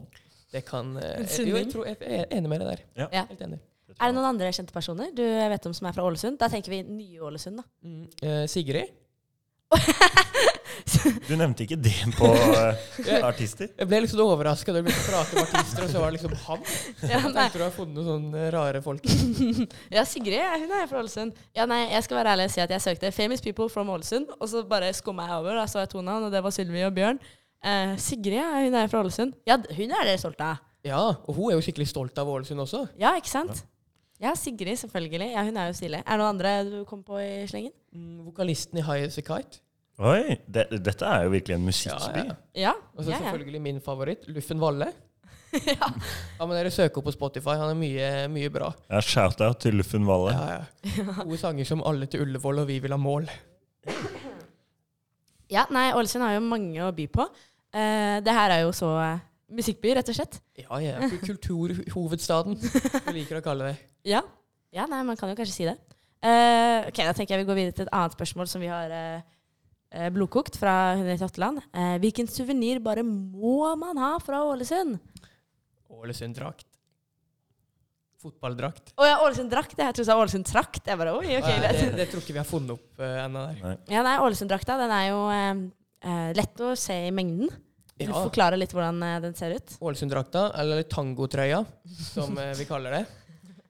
Speaker 3: Det kan eh,
Speaker 1: En
Speaker 3: Jo, jeg,
Speaker 1: sunning.
Speaker 3: tror, jeg er enig med deg der.
Speaker 2: Ja.
Speaker 1: Ja.
Speaker 3: Helt enig.
Speaker 1: Er det noen andre kjente personer du vet om som er fra Ålesund? Da tenker vi Nye-Ålesund, da.
Speaker 3: Mm. Eh, Sigrid?
Speaker 2: Du nevnte ikke det på eh, artister?
Speaker 3: Jeg ble litt sånn overraska da vi begynte å prate om artister, og så var det liksom han.
Speaker 1: Ja,
Speaker 3: Jeg
Speaker 1: nei.
Speaker 3: tenkte du hadde funnet noen sånne rare folk.
Speaker 1: ja, Sigrid ja, hun er fra Ålesund. Ja, nei, Jeg skal være ærlig og si at jeg søkte 'Famous People from Ålesund', og så bare skumma jeg over. Da så jeg to navn, og det var Sylvi og Bjørn. Eh, Sigrid ja, hun er fra Ålesund. Ja, d- hun er dere stolte av.
Speaker 3: Ja, og hun er jo skikkelig stolt av Ålesund også.
Speaker 1: Ja, ikke sant? Ja, Sigrid, selvfølgelig. Ja, Hun er jo stilig. Er det noen andre du kom på i slengen?
Speaker 3: Mm, vokalisten i High As A Kite.
Speaker 2: Oi, det, dette er jo virkelig en musikkby.
Speaker 1: Ja.
Speaker 3: Og så
Speaker 1: ja, ja.
Speaker 3: selvfølgelig min favoritt, Luffen Valle.
Speaker 1: ja.
Speaker 3: Ja, men dere søker opp på Spotify. Han er mye, mye bra.
Speaker 2: Ja, Shout-out til Luffen Valle.
Speaker 3: Ja, ja. Gode sanger som 'Alle til Ullevål' og 'Vi vil ha mål'.
Speaker 1: ja, nei, Ålesund har jo mange å by på. Eh, det her er jo så eh, musikkby, rett og slett.
Speaker 3: Ja, ja. Kulturhovedstaden, vi liker å kalle det.
Speaker 1: Ja. ja, nei, man kan jo kanskje si det. Eh, ok, Da tenker jeg vi går videre til et annet spørsmål som vi har eh, eh, blodkokt fra Henriette Hatteland. Eh, hvilken suvenir bare må man ha fra Ålesund?
Speaker 3: Ålesund-drakt. Fotballdrakt.
Speaker 1: Å ja, Ålesund-drakt. Jeg trodde du sa Ålesund-trakt. Jeg bare, oi, ok.
Speaker 3: Nei,
Speaker 1: det-
Speaker 3: det, det tror ikke vi har funnet opp eh, ennå. der.
Speaker 1: Ja, nei, Ålesund-drakta den er jo eh, eh, lett å se i mengden. Vil du
Speaker 3: Ja.
Speaker 1: forklare litt hvordan eh, den ser ut?
Speaker 3: Ålesund-drakta, eller tangotrøya, som eh, vi kaller det.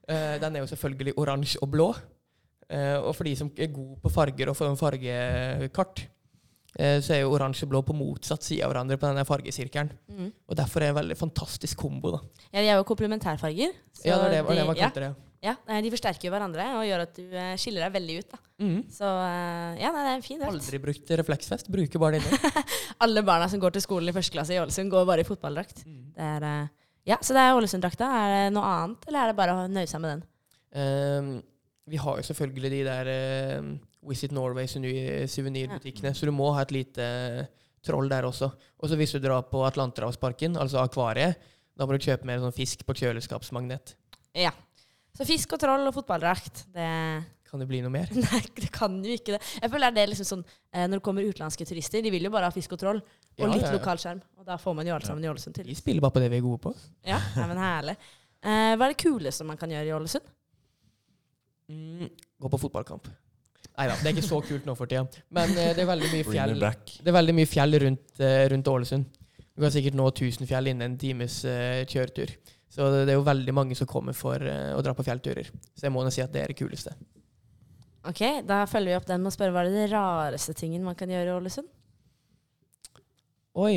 Speaker 3: Eh, den er jo selvfølgelig oransje og blå. Eh, og for de som er gode på farger og får en fargekart, eh, så er jo oransje og blå på motsatt side av hverandre på denne fargesirkelen.
Speaker 1: Mm.
Speaker 3: Og derfor er det en veldig fantastisk kombo. da.
Speaker 1: Ja, De er jo komplementærfarger. så
Speaker 3: Ja, det var det, var det man
Speaker 1: ja,
Speaker 3: kalte det.
Speaker 1: ja, eh, de forsterker jo hverandre og gjør at du eh, skiller deg veldig ut. da.
Speaker 3: Mhm.
Speaker 1: Så eh, ja, nei, det er en fin drakt.
Speaker 3: Aldri brukt refleksvest, bruker bare det inne.
Speaker 1: Alle barna som går til skolen i første klasse i Ålesund, går bare i fotballdrakt.
Speaker 3: Mhm.
Speaker 1: Det er, eh, ja, så det er Ålesund-drakta. Er det noe annet, eller er det bare å nøye seg med den?
Speaker 3: Eh, vi har jo selvfølgelig de der eh, Visit Norway suveni- suvenirbutikkene, så du må ha et lite troll der også. Og så hvis du drar på Atlanterhavsparken, altså akvariet, da må du kjøpe mer sånn fisk på kjøleskapsmagnet.
Speaker 1: Ja. Så fisk og troll og fotballdrakt, det
Speaker 3: Kan det bli noe mer?
Speaker 1: Nei, det kan jo ikke det. Jeg føler det er liksom sånn eh, når det kommer utenlandske turister, de vil jo bare ha fisk og troll, og
Speaker 3: Ja,
Speaker 1: litt
Speaker 3: ja, ja.
Speaker 1: lokalskjerm. Og da får man jo alt sammen i Ålesund til.
Speaker 3: Vi spiller bare på det vi er gode på.
Speaker 1: Ja, nei, men herlig. Eh, hva er det kuleste man kan gjøre i Ålesund?
Speaker 3: Mm, gå på fotballkamp. Nei da, det er ikke så kult nå for tida. Men eh, det er veldig mye
Speaker 2: Bring me
Speaker 3: fjell,
Speaker 2: back.
Speaker 3: det er veldig mye fjell rundt, eh, rundt Ålesund. Du kan sikkert nå Tusenfjell innen en times eh, kjøretur. Så det, det er jo veldig mange som kommer for eh, å dra på fjellturer. Så jeg må nå si at det er det kuleste.
Speaker 1: Ok, Da følger vi opp den med å spørre hva er det rareste tingen man kan gjøre i Ålesund?
Speaker 3: Oi!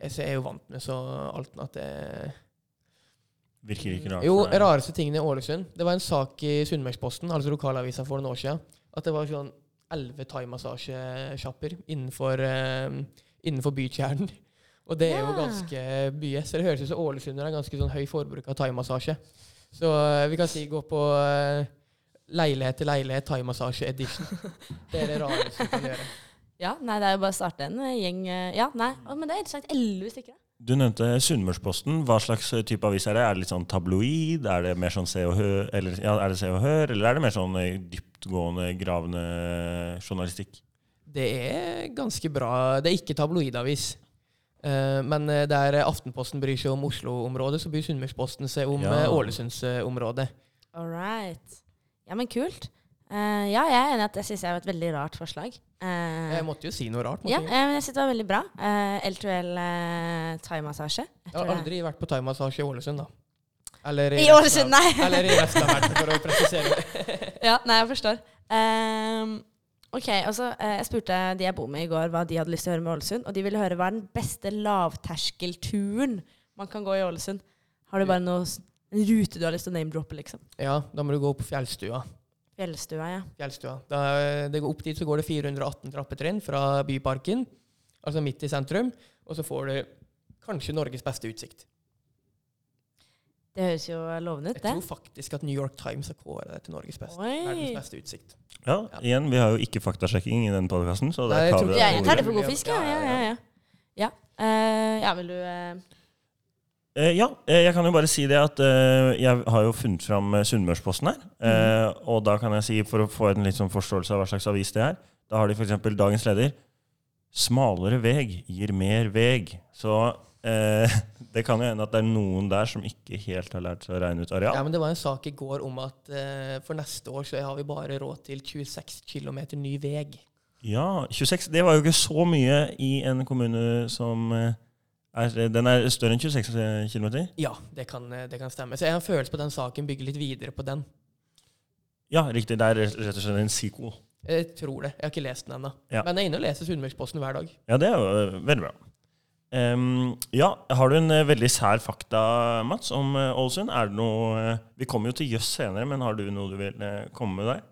Speaker 3: Jeg så jeg er jo vant med så alt at det
Speaker 2: Virker ikke rart.
Speaker 3: Jo,
Speaker 2: for deg.
Speaker 3: rareste tingene i Ålesund. Det var en sak i Sunnmørsposten, altså lokalavisa for noen år siden, at det var sånn elleve thaimassasjesjapper innenfor, eh, innenfor bykjernen. Og det er jo
Speaker 1: Ja.
Speaker 3: ganske mye, så det høres ut som Ålesund har ganske sånn høy forbruk av thaimassasje. Så eh, vi kan si gå på eh, leilighet til leilighet thaimassasje edition. Det er det rareste vi kan gjøre.
Speaker 1: Ja, nei, det er jo bare å starte en eh, gjeng eh, Ja, nei, Å, men det er helt sagt elleve stykker. da.
Speaker 2: Du nevnte Sunnmørsposten. Hva slags eh, type avis er det? Er det litt sånn tabloid? Er det mer sånn Se og Hør, eller, ja, er det se og hør, eller er det mer sånn eh, dyptgående, gravende eh, journalistikk?
Speaker 3: Det er ganske bra. Det er ikke tabloidavis. Eh, Men eh, der Aftenposten bryr seg om Oslo-området, så bryr Sunnmørsposten seg om
Speaker 2: Ja.
Speaker 3: eh, Ålesunds-området.
Speaker 1: All right. Ja, men kult. Eh, ja, jeg er enig i at jeg syns jeg var et veldig rart forslag. Eh,
Speaker 3: Jeg måtte jo si noe rart. måtte
Speaker 1: ja,
Speaker 3: jeg?
Speaker 1: eh, men jeg syns det var veldig bra. Eh, L2L eh, thaimassasje. Jeg
Speaker 3: Jeg har
Speaker 1: tror det-
Speaker 3: aldri vært på thaimassasje i Ålesund, da. Eller
Speaker 1: I
Speaker 3: resten av-
Speaker 1: Ålesund, nei.
Speaker 3: Eller i resten av verden, for å presisere det.
Speaker 1: Ja, nei, jeg forstår. Ehm, ok, og så eh, Jeg spurte de jeg bor med i går, hva de hadde lyst til å høre med Ålesund. Og de ville høre hva er den beste lavterskelturen man kan gå i Ålesund. Har du bare noe, s- en rute du har lyst til å name-droppe, liksom?
Speaker 3: Ja, da må du gå opp på Fjellstua.
Speaker 1: Fjellstua, ja.
Speaker 3: Fjellstua. Da, eh, det går opp dit så går det 418 trappetrinn fra Byparken, altså midt i sentrum, og så får du kanskje Norges beste utsikt.
Speaker 1: Det høres jo lovende
Speaker 3: Jeg
Speaker 1: ut, det.
Speaker 3: tror faktisk at New York Times har kåret det til Norges beste. Verdens
Speaker 1: Oi.
Speaker 3: beste utsikt.
Speaker 2: Ja,
Speaker 3: Ja.
Speaker 2: igjen, vi har jo ikke faktasjekking i denne podkasten, så
Speaker 3: Nei,
Speaker 2: der
Speaker 3: jeg
Speaker 2: tar
Speaker 3: tror
Speaker 2: vi
Speaker 3: ikke-
Speaker 1: Ja, jeg
Speaker 2: det.
Speaker 1: tar det
Speaker 2: ordet.
Speaker 1: for god fisk, ja. Ja, ja, ja. ja. Eh, ja vil du eh,
Speaker 2: Eh, ja, eh, jeg kan jo bare si det at eh, jeg har jo funnet fram eh, Sunnmørsposten her. Eh, Og da kan jeg si, for å få en litt sånn forståelse av hva slags avis det er, da har de f.eks. dagens leder. 'Smalere veg gir mer veg'. Så eh, det kan jo hende at det er noen der som ikke helt har lært seg å regne ut
Speaker 3: Ja.
Speaker 2: areal.
Speaker 3: men Det var en sak i går om at eh, for neste år så har vi bare råd til 26 km ny vei.
Speaker 2: Ja, 26. Det var jo ikke så mye i en kommune som eh, er Den er større enn 26 km?
Speaker 3: Ja, det kan, eh, det kan stemme. Så jeg har en følelse på at den saken bygger litt videre på den.
Speaker 2: Ja, riktig. Det er rett og slett en sequel.
Speaker 3: Jeg tror det. Jeg har ikke lest den ennå.
Speaker 2: Ja.
Speaker 3: Men jeg er inne og leser Sunnmørsposten hver dag.
Speaker 2: Ja, det er jo eh, veldig bra. Ehm, ja, har du en eh, veldig sær fakta, Mats, om eh, Ålesund? Er det noe eh, Vi kommer jo til jøss senere, men har du noe du vil eh, komme med der?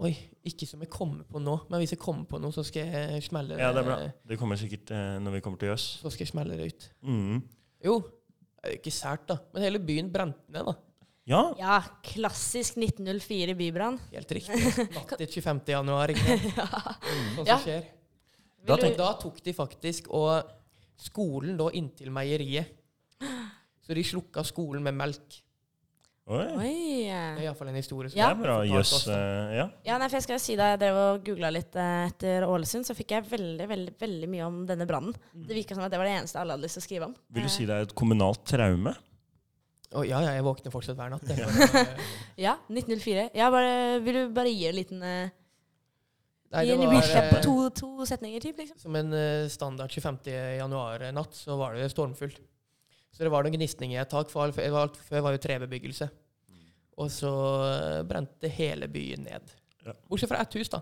Speaker 3: Oi, ikke som jeg kommer på nå, men hvis jeg kommer på noe, så skal jeg smelle det,
Speaker 2: Ja, det er bra. Det kommer sikkert eh, når vi kommer til jøss.
Speaker 3: Så skal jeg smelle det ut.
Speaker 2: Mhm.
Speaker 3: Jo, det er jo ikke sært, da. Men hele byen brente ned, da.
Speaker 2: Ja,
Speaker 1: Ja, klassisk 1904 bybrann.
Speaker 3: Helt riktig. Natt til 25. januar, ikke sant? Sånn som
Speaker 1: Ja.
Speaker 3: skjer.
Speaker 2: da
Speaker 3: Og
Speaker 2: tenk,
Speaker 3: da tok de faktisk og skolen lå inntil meieriet. Så de slukka skolen med melk.
Speaker 2: Oi,
Speaker 1: Oi.
Speaker 3: Det er iallfall en historie. som
Speaker 2: det
Speaker 1: Ja.
Speaker 2: er bra.
Speaker 3: jeg har
Speaker 2: Jøss.
Speaker 3: fortalt oss, da.
Speaker 2: eh, ja.
Speaker 1: Ja, nei, for jeg skal jo si Da jeg drev og googla litt eh, etter Ålesund, så fikk jeg veldig veldig, veldig mye om denne brannen. Det virka som at det var det eneste alle hadde lyst til å skrive om.
Speaker 2: Vil du si det er et kommunalt traume?
Speaker 3: Å, ja, ja, jeg våkner fortsatt hver natt. jeg. For, eh,
Speaker 1: Ja, 1904. Ja, bare, vil du bare gi en liten eh,
Speaker 3: nei,
Speaker 1: gi
Speaker 3: det
Speaker 1: en
Speaker 3: var,
Speaker 1: recap på
Speaker 3: eh,
Speaker 1: to, to setninger, typ, liksom?
Speaker 3: Som en eh, standard 25. januar-natt så var det stormfullt. Så det var noen gnisninger i et tak, for alt for alt før var jo trebebyggelse.
Speaker 2: Mm.
Speaker 3: Og så eh, brente hele byen ned.
Speaker 2: Ja.
Speaker 3: Bortsett fra ett hus, da.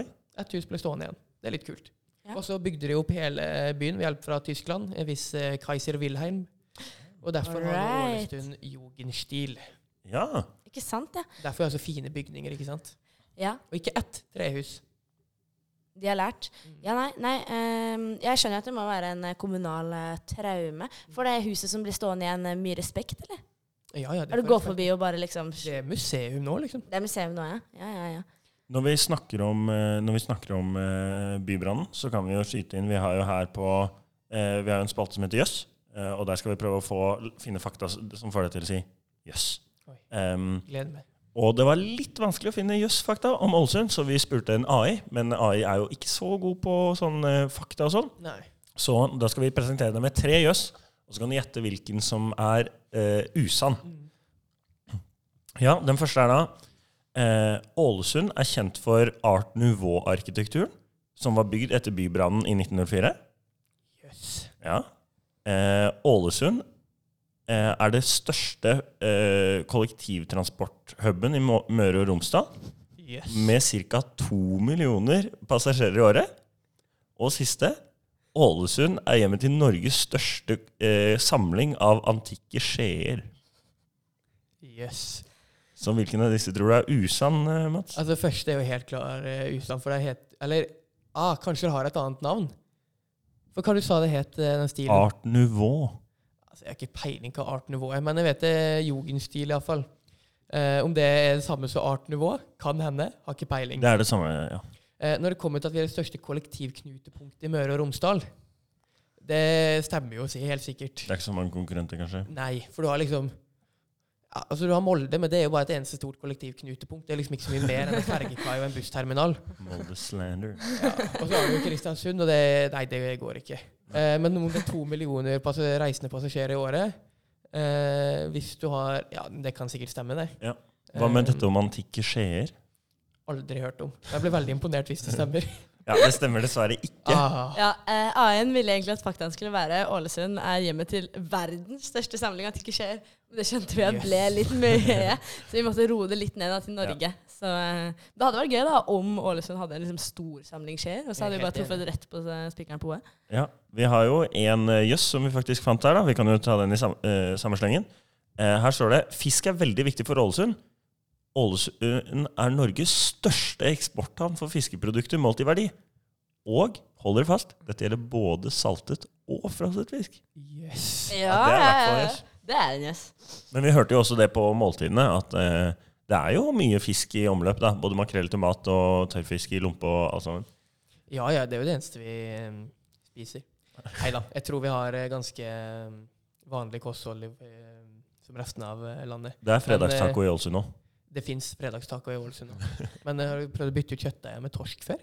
Speaker 2: Oi.
Speaker 3: Ett hus ble stående igjen. Det er litt kult.
Speaker 1: Ja.
Speaker 3: Og så bygde de opp hele byen ved hjelp fra Tyskland, en viss eh, Kaiser Wilhelm. Og derfor har
Speaker 1: Alright.
Speaker 3: Ålesund Jugendstil.
Speaker 2: Ja.
Speaker 1: Ikke sant, ja?
Speaker 3: Derfor er det så fine bygninger, ikke sant?
Speaker 1: Ja,
Speaker 3: Og ikke ett trehus.
Speaker 1: de har lært. Ja, nei, nei ehm, Jeg skjønner at det må være en eh, kommunal eh, traume. For det huset som blir stående igjen, eh, mye respekt, eller?
Speaker 3: Ja, ja, det
Speaker 1: Har du
Speaker 3: får-
Speaker 1: gått forbi og bare liksom
Speaker 3: Det er museum nå, liksom.
Speaker 1: Det er museum nå, ja? Ja, ja, ja.
Speaker 2: Når vi snakker om, eh, når vi snakker om eh, bybrannen, så kan vi jo skyte inn Vi har jo her på eh, Vi har jo en spalte som heter Jøss, eh, og der skal vi prøve å få, finne fakta s- som får deg til å si jøss.
Speaker 3: Oi.
Speaker 2: Em,
Speaker 3: Gleder meg.
Speaker 2: og det var litt vanskelig å finne jøss-fakta om Ålesund, så vi spurte en AI. Men AI er jo ikke så god på sånn eh, fakta og sånn.
Speaker 3: Nei.
Speaker 2: Så da skal vi presentere deg med tre jøss, og så kan du gjette hvilken som er eh, usann.
Speaker 3: Mm.
Speaker 2: Ja, den første er da eh, Ålesund er kjent for Art Nouveau-arkitekturen, som var bygd etter bybrannen i 1904.
Speaker 3: Jøss.
Speaker 2: Ja. Eh, Ålesund eh, er det største eh, kollektivtransporthuben i Mo- Møre og Romsdal,
Speaker 3: Yes.
Speaker 2: med ca. to millioner passasjerer i året. Og siste Ålesund er hjemmet til Norges største eh, samling av antikke skjeer.
Speaker 3: Yes.
Speaker 2: Så hvilken av disse tror du er usann, eh, Mats?
Speaker 3: Altså, første er jo helt klar uh, ustand, for det het Eller ah, kanskje det har et annet navn? For hva du sa det het, eh, den stilen?
Speaker 2: Art Nouveau.
Speaker 3: Altså, jeg har ikke peiling hva art nivå er, men jeg vet eh, det er jugendstil, iallfall. Eh, Uh, om det er det samme som art nivå, kan hende. Har ikke peiling.
Speaker 2: Det er det samme, ja.
Speaker 3: Eh, når det kommer til at vi er det største kollektivknutepunktet i Møre og Romsdal Det stemmer jo si- helt sikkert.
Speaker 2: Det er ikke så mange konkurrenter, kanskje.
Speaker 3: Nei, for du har liksom ja, Altså Du har Molde, men det er jo bare et eneste stort kollektivknutepunkt. Det er liksom ikke så mye mer enn en fergekai og en bussterminal.
Speaker 2: Molde Slander.
Speaker 3: Og så har du jo Kristiansund, og det Nei, det går ikke. Eh, men noen med to millioner passe, reisende passasjerer i året eh, Hvis du har Ja, det kan sikkert stemme, det.
Speaker 2: Ja. Hva med
Speaker 3: Eh,
Speaker 2: dette om antikke skjeer?
Speaker 3: Aldri hørt om. Jeg blir veldig imponert hvis det stemmer.
Speaker 2: Ja, det stemmer dessverre ikke.
Speaker 3: Ah,
Speaker 1: Ja, eh, AN ville egentlig at faktaen skulle være Ålesund er hjemmet til verdens største samling av tikkeskjeer. Men det skjønte vi at ble litt mye, så vi måtte roe det litt ned da, til Norge. Så eh, det hadde vært gøy da om Ålesund hadde en liksom, stor samling skjeer, og så hadde vi bare
Speaker 3: Helt enig.
Speaker 1: truffet rett på eh, spikeren på hodet.
Speaker 2: Ja, Vi har jo en eh, jøss som vi faktisk fant her. da. Vi kan jo ta den i sam eh, samme slengen. Eh, her står det fisk er veldig viktig for Ålesund. Ålesund er Norges største eksporthavn for fiskeprodukter målt i verdi. Og hold dere fast, dette gjelder både saltet og frosset fisk.
Speaker 3: yes.
Speaker 2: Ja, det er i hvert fall yes.
Speaker 1: Det er en yes.
Speaker 2: Men vi hørte jo også det på måltidene, at eh, det er jo mye fisk i omløp. da. Både makrell til mat og tørrfisk i lompe og alt sammen.
Speaker 3: Ja, ja, det er jo det eneste vi eh, spiser. Nei da, jeg tror vi har eh, ganske eh, vanlig kosthold eh, som resten av eh, landet.
Speaker 2: Det er fredagstaco i Ålesund òg.
Speaker 3: Det fins fredagstaco i Ålesund òg. Men eh, har du prøvd å bytte ut kjøttdeigen med torsk før?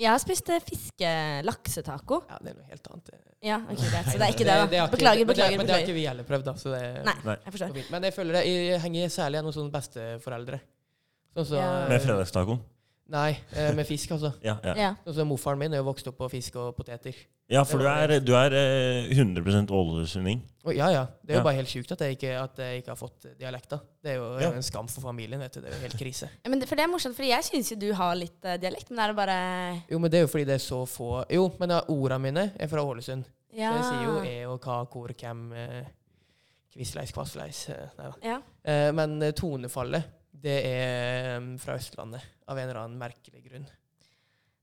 Speaker 1: Jeg har spist eh, fiske-laksetaco.
Speaker 3: Ja, det er noe helt annet. Eh, det.
Speaker 1: Ja, ok, greit.
Speaker 3: Nei,
Speaker 1: Så det er ikke det, da.
Speaker 3: har
Speaker 1: Beklager,
Speaker 3: ikke- men det-
Speaker 1: beklager.
Speaker 3: Men det har
Speaker 1: beklager.
Speaker 3: ikke vi heller prøvd, da. Så det
Speaker 1: Nei,
Speaker 2: Nei.
Speaker 1: jeg forstår.
Speaker 3: går fint. Men jeg føler det jeg henger særlig gjennom sånne besteforeldre. Sånn som
Speaker 1: Ja.
Speaker 2: Med fredagstacoen.
Speaker 3: Nei, eh, med fisk, altså.
Speaker 2: Ja, ja.
Speaker 1: Ja.
Speaker 3: Sånn som morfaren min er jo vokst opp på fisk og poteter.
Speaker 2: Ja, for du er, du er eh, 100 ålesunding.
Speaker 3: Og ja, ja. Det er jo
Speaker 2: Ja.
Speaker 3: bare helt sjukt at jeg ikke, at jeg ikke har fått dialekta. Det er jo
Speaker 2: Ja.
Speaker 3: en skam for familien. vet du. Det er jo helt krise.
Speaker 1: Ja, Men det, for det er morsomt, for jeg syns jo du har litt eh, dialekt, men er det bare
Speaker 3: Jo, men det er jo fordi det er så få Jo, men ja, orda mine er fra Ålesund.
Speaker 1: Ja.
Speaker 3: Så jeg sier jo e og ka, kor, kem, eh, kvissleis, kvassleis. eh, Nei da.
Speaker 1: ja.
Speaker 3: Eh, Men tonefallet, det er eh, fra Østlandet. Av en eller annen merkelig grunn.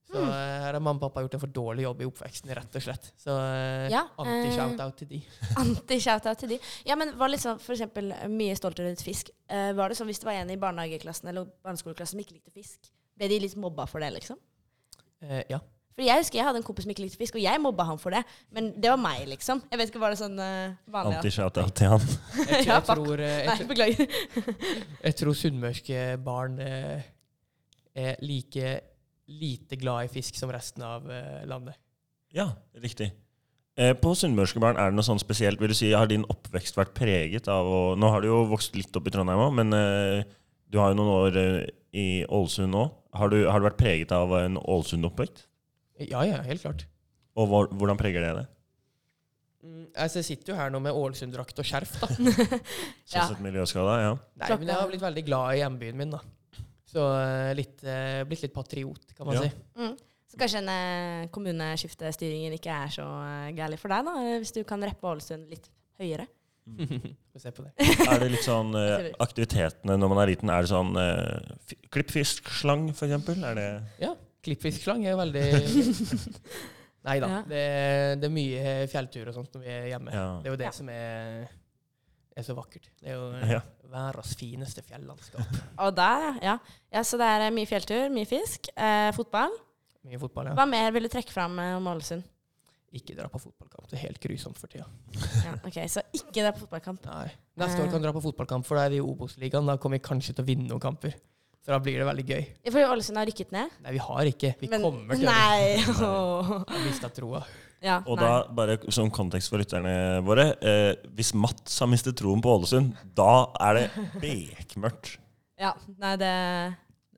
Speaker 3: Så
Speaker 1: Hmm.
Speaker 3: eh, her har mamma og pappa gjort en for dårlig jobb i oppveksten, rett og slett. Så eh,
Speaker 1: Ja,
Speaker 3: anti-shout-out til de.
Speaker 1: Anti-shoutout til de. Ja, men var liksom for eksempel mye stoltere rundt fisk. Eh, var det sånn hvis det var en i barnehageklassen eller barneskoleklassen som ikke likte fisk, ble de litt mobba for det, liksom?
Speaker 3: Eh, ja.
Speaker 1: For jeg husker jeg hadde en kompis som ikke likte fisk, og jeg mobba han for det. Men det var meg, liksom. Jeg vet ikke, var det sånn eh, vanlig? at-
Speaker 2: Anti-shout-out til han.
Speaker 3: Jeg,
Speaker 1: Ja,
Speaker 3: jeg,
Speaker 1: fuck.
Speaker 3: tror, eh, jeg,
Speaker 1: Nei, beklager.
Speaker 3: Jeg tror sunnmørske barn eh, er like lite glad i fisk som resten av eh, landet.
Speaker 2: Ja, riktig. Eh, på Sunnmørske barn er det noe sånn spesielt? Vil du si, Har din oppvekst vært preget av å Nå har du jo vokst litt opp i Trondheim òg, men eh, du har jo noen år eh, i Ålesund nå. Har du, har du vært preget av en Ålesund-oppvekst?
Speaker 3: Ja, ja, helt klart.
Speaker 2: Og hvor, hvordan preger det deg?
Speaker 3: Mm, altså, jeg sitter jo her nå med Ålesund-drakt og skjerf, da.
Speaker 2: Sånn
Speaker 1: Ja.
Speaker 2: sett miljøskada, ja.
Speaker 3: Nei, men jeg har blitt veldig glad i hjembyen min, da. Så eh, litt, eh, blitt litt patriot, kan man
Speaker 2: Ja.
Speaker 3: si.
Speaker 1: Mm. Så kanskje en eh, kommuneskiftestyringen ikke er så eh, gærlig for deg, da, eh, hvis du kan rappe Ålesund litt høyere?
Speaker 3: Få se på det.
Speaker 2: Er det litt sånn eh, aktivitetene når man er liten, er det sånn eh, fi- klippfiskslang, for eksempel? Er det
Speaker 3: Ja. Klippfiskslang er jo veldig Nei da.
Speaker 1: Ja.
Speaker 3: Det, er- det er mye fjelltur og sånt når vi er hjemme.
Speaker 2: Ja.
Speaker 3: Det er jo det
Speaker 1: Ja.
Speaker 3: som er, er så vakkert. Det er jo
Speaker 2: Ja.
Speaker 3: eh, verdens fineste fjellandskap.
Speaker 1: Og der, ja. ja. Så det er eh, mye fjelltur, mye fisk, eh, fotball.
Speaker 3: Mye fotball, ja.
Speaker 1: Hva mer vil du trekke fram eh, om Ålesund?
Speaker 3: Ikke dra på fotballkamp. Det er helt grusomt for tida.
Speaker 1: Ja, ok, Så ikke det er på fotballkamp.
Speaker 3: Nei. Neste
Speaker 1: Eh.
Speaker 3: år kan du dra på fotballkamp, for da er vi i Obos-ligaen. Da kommer vi kanskje til å vinne noen kamper. Så da blir det veldig gøy.
Speaker 1: Ja, For Ålesund har rykket ned.
Speaker 3: Nei, vi har ikke. Vi
Speaker 1: men-
Speaker 3: kommer til å gjøre det.
Speaker 1: Nei!
Speaker 3: Jeg har mistet troa.
Speaker 1: Ja,
Speaker 2: Og
Speaker 1: nei.
Speaker 2: da, bare som kontekst for lytterne våre, eh, hvis Mats har mistet troen på Ålesund, da er det bekmørkt.
Speaker 1: ja, nei det,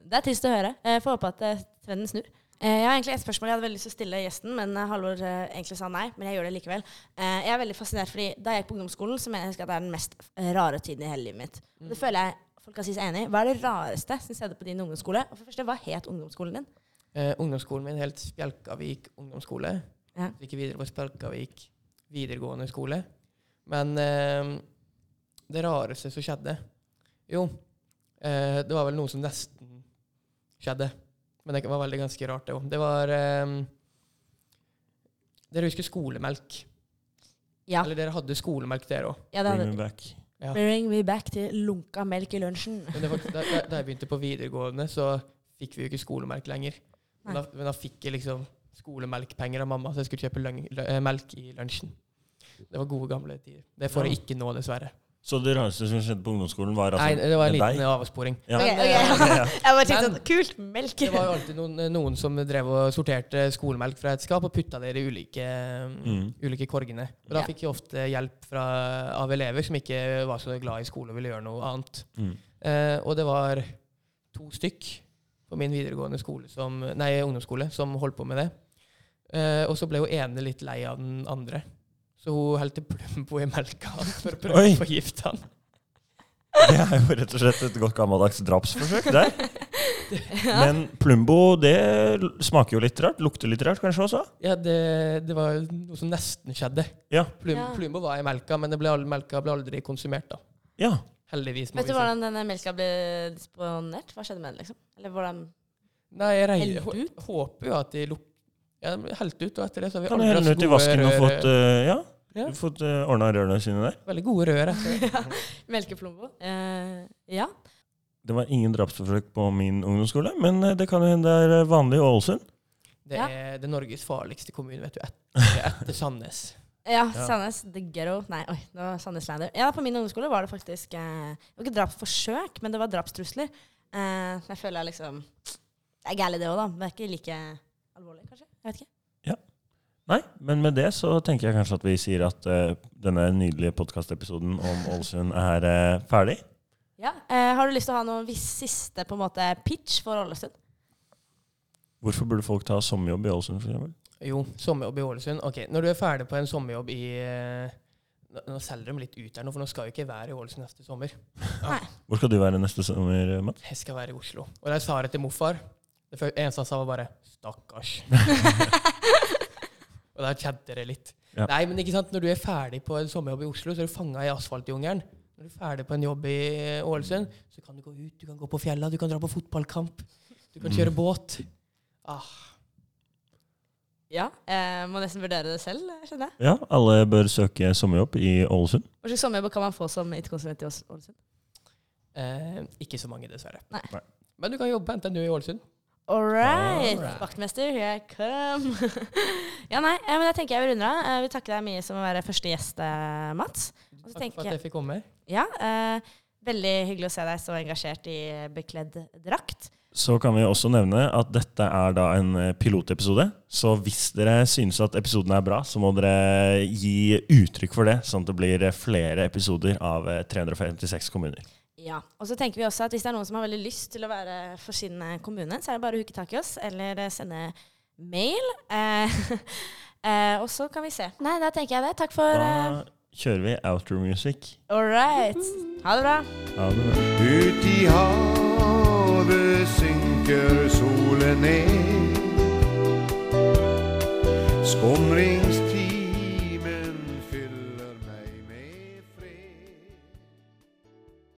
Speaker 1: det er trist å høre. Jeg får håpe at eh, trenden snur. Eh, Jeg har egentlig et spørsmål jeg hadde veldig lyst til å stille gjesten, men eh, Halvor eh, egentlig sa nei. Men jeg gjør det likevel. Eh, Jeg er veldig fascinert, fordi da jeg gikk på ungdomsskolen, så mener jeg å huske at det er den mest eh, rare tiden i hele livet mitt. Og det føler jeg folk kan si seg enig i. Hva er det rareste som skjedde på din ungdomsskole? Og for det første, hva het ungdomsskolen din?
Speaker 3: Eh, ungdomsskolen min helt Spjelkavik ungdomsskole.
Speaker 1: Ja.
Speaker 3: Gikk videre på Spjelkavik videregående skole. Men eh, det rareste som skjedde Jo, eh, det var vel noe som nesten skjedde. Men det var veldig ganske rart, det òg. Det var eh, Dere husker skolemelk?
Speaker 1: Ja,
Speaker 3: Eller dere hadde skolemelk, dere òg.
Speaker 1: ja det
Speaker 2: Bring
Speaker 1: hadde
Speaker 2: me back.
Speaker 3: Ja.
Speaker 1: Bring me back til lunka melk i lunsjen.
Speaker 3: Men det var, da, da, da jeg begynte på videregående, så fikk vi jo ikke skolemelk lenger. Men
Speaker 1: Nei.
Speaker 3: da, men da fikk jeg liksom skolemelkpenger av mamma, så jeg skulle kjøpe løng, lø, eh, melk i lunsjen. Det var gode, gamle tider. Det får jeg ikke nå, dessverre.
Speaker 2: Så det rareste som skjedde på ungdomsskolen, var altså
Speaker 3: Nei, det var en
Speaker 2: med
Speaker 3: liten
Speaker 2: deg?
Speaker 3: avsporing.
Speaker 2: Ja.
Speaker 1: Ok,
Speaker 3: Men,
Speaker 1: ok.
Speaker 3: eh,
Speaker 1: Jeg bare tenkte
Speaker 3: Men-
Speaker 1: sånn Kult! Melk!
Speaker 3: Det var jo alltid noen, eh, noen som drev og sorterte skolemelk fra et skap og putta det i de ulike,
Speaker 2: Mm.
Speaker 3: ulike korgene. Og da
Speaker 1: Ja.
Speaker 3: fikk jeg ofte hjelp fra, av elever som ikke var så glad i skole og ville gjøre noe annet.
Speaker 2: Mm.
Speaker 3: Eh, og det var to stykk på min videregående skole som, nei, ungdomsskole som holdt på med det. Eh, og så ble hun ene litt lei av den andre. Så hun helte Plumbo i melka hans for å prøve
Speaker 2: Oi.
Speaker 3: å forgifte han.
Speaker 2: Det er jo rett og slett et godt gammeldags drapsforsøk der. Men Plumbo, det l- smaker jo litt rart. Lukter litt rart kanskje også?
Speaker 3: Ja, det, det var noe som nesten skjedde.
Speaker 2: Ja.
Speaker 3: Plum,
Speaker 1: Ja.
Speaker 3: Plumbo var i melka, men det ble, al- melka ble aldri konsumert. da.
Speaker 2: Ja.
Speaker 3: Heldigvis. må
Speaker 1: Vet du
Speaker 3: vi si.
Speaker 1: hvordan denne melka ble disponert? Hva skjedde med den, liksom? Eller hvordan
Speaker 3: Nei, jeg regner,
Speaker 1: Helt
Speaker 3: hå-
Speaker 1: ut?
Speaker 3: håper jo at de luk... Ja, de helte ut, og etter det så har vi
Speaker 2: Kan du
Speaker 3: aldri
Speaker 2: helle
Speaker 3: hatt
Speaker 2: ut i
Speaker 3: gode
Speaker 2: vasken og
Speaker 3: rør-
Speaker 2: fått, eh, ja,
Speaker 3: Ja.
Speaker 2: fått eh, ordna rørene sine der?
Speaker 3: Veldig gode rør. jeg.
Speaker 1: Melkeplombo? Eh, ja.
Speaker 2: Det var ingen drapsforsøk på min ungdomsskole, men eh, det kan jo hende det er vanlig i Ålesund.
Speaker 3: Det
Speaker 1: Ja.
Speaker 3: er det Norges farligste kommune, vet du. Etter, etter Sandnes.
Speaker 1: Ja,
Speaker 2: Ja.
Speaker 1: Sandnes the ghetto. Nei, oi, det var Sandnes Lander. Ja, på min ungdomsskole var det faktisk eh, Det var ikke drapsforsøk, men det var drapstrusler. Eh, men jeg føler jeg liksom Det er gærent, det òg, da. Men det er ikke like alvorlig, kanskje? Jeg vet ikke.
Speaker 2: Nei, men med det så tenker jeg kanskje at vi sier at eh, denne nydelige podkastepisoden om Ålesund er eh, ferdig.
Speaker 1: Ja. Eh, har du lyst til å ha noen viss siste på en måte pitch for Ålesund?
Speaker 2: Hvorfor burde folk ta sommerjobb i Ålesund, for eksempel?
Speaker 3: Jo, sommerjobb i Ålesund. Ok, Når du er ferdig på en sommerjobb i eh, Nå nå selger de litt ut her nå, for nå skal jo ikke jeg være i Ålesund neste sommer.
Speaker 2: Hvor skal du være neste sommer, eh, Mats?
Speaker 3: Jeg skal være i Oslo. Og da jeg sa det til morfar, det fø- eneste han sa, var bare 'stakkars'. og da kjente det litt.
Speaker 2: Ja.
Speaker 3: Nei, men ikke sant, når du er ferdig på en sommerjobb i Oslo, så er du fanga i asfaltjungelen. Når du er ferdig på en jobb i Ålesund, så kan du gå ut, du kan gå på fjella, du kan dra på fotballkamp, du kan kjøre båt. Ah,
Speaker 1: Ja. Eh, må nesten vurdere det selv, skjønner jeg.
Speaker 2: Ja, alle bør søke sommerjobb i Ålesund.
Speaker 1: Hva slags sommerjobb kan man få som IT-konsulent i Ås- Ålesund?
Speaker 3: eh, ikke så mange, dessverre.
Speaker 1: Nei.
Speaker 2: Nei.
Speaker 3: Men du kan jobbe på NTNU i Ålesund.
Speaker 1: All right.
Speaker 2: Alright.
Speaker 1: Vaktmester, here I come. ja, nei, eh, men jeg tenker jeg vil runde av. Eh, Vi takker deg mye som å være første gjest, eh, Mats. Og så
Speaker 3: Takk
Speaker 1: tenker
Speaker 3: for at jeg fikk komme.
Speaker 1: Ja, eh, veldig hyggelig å se deg så engasjert i bekledd drakt.
Speaker 2: Så kan vi også nevne at dette er da en eh, pilotepisode. Så hvis dere synes at episoden er bra, så må dere gi uttrykk for det, sånn at det blir eh, flere episoder av eh, 356 kommuner.
Speaker 1: Ja, og så tenker vi også at Hvis det er noen som har veldig lyst til å være for sin eh, kommune, så er det bare å huke tak i oss eller eh, sende mail. Eh, eh, og så kan vi se. Nei, da tenker jeg det. Takk for eh,
Speaker 2: Da kjører vi outro music.
Speaker 1: All right. Ha det bra.
Speaker 2: Ha det bra.
Speaker 4: Ut i havet synker solen ned. Skumring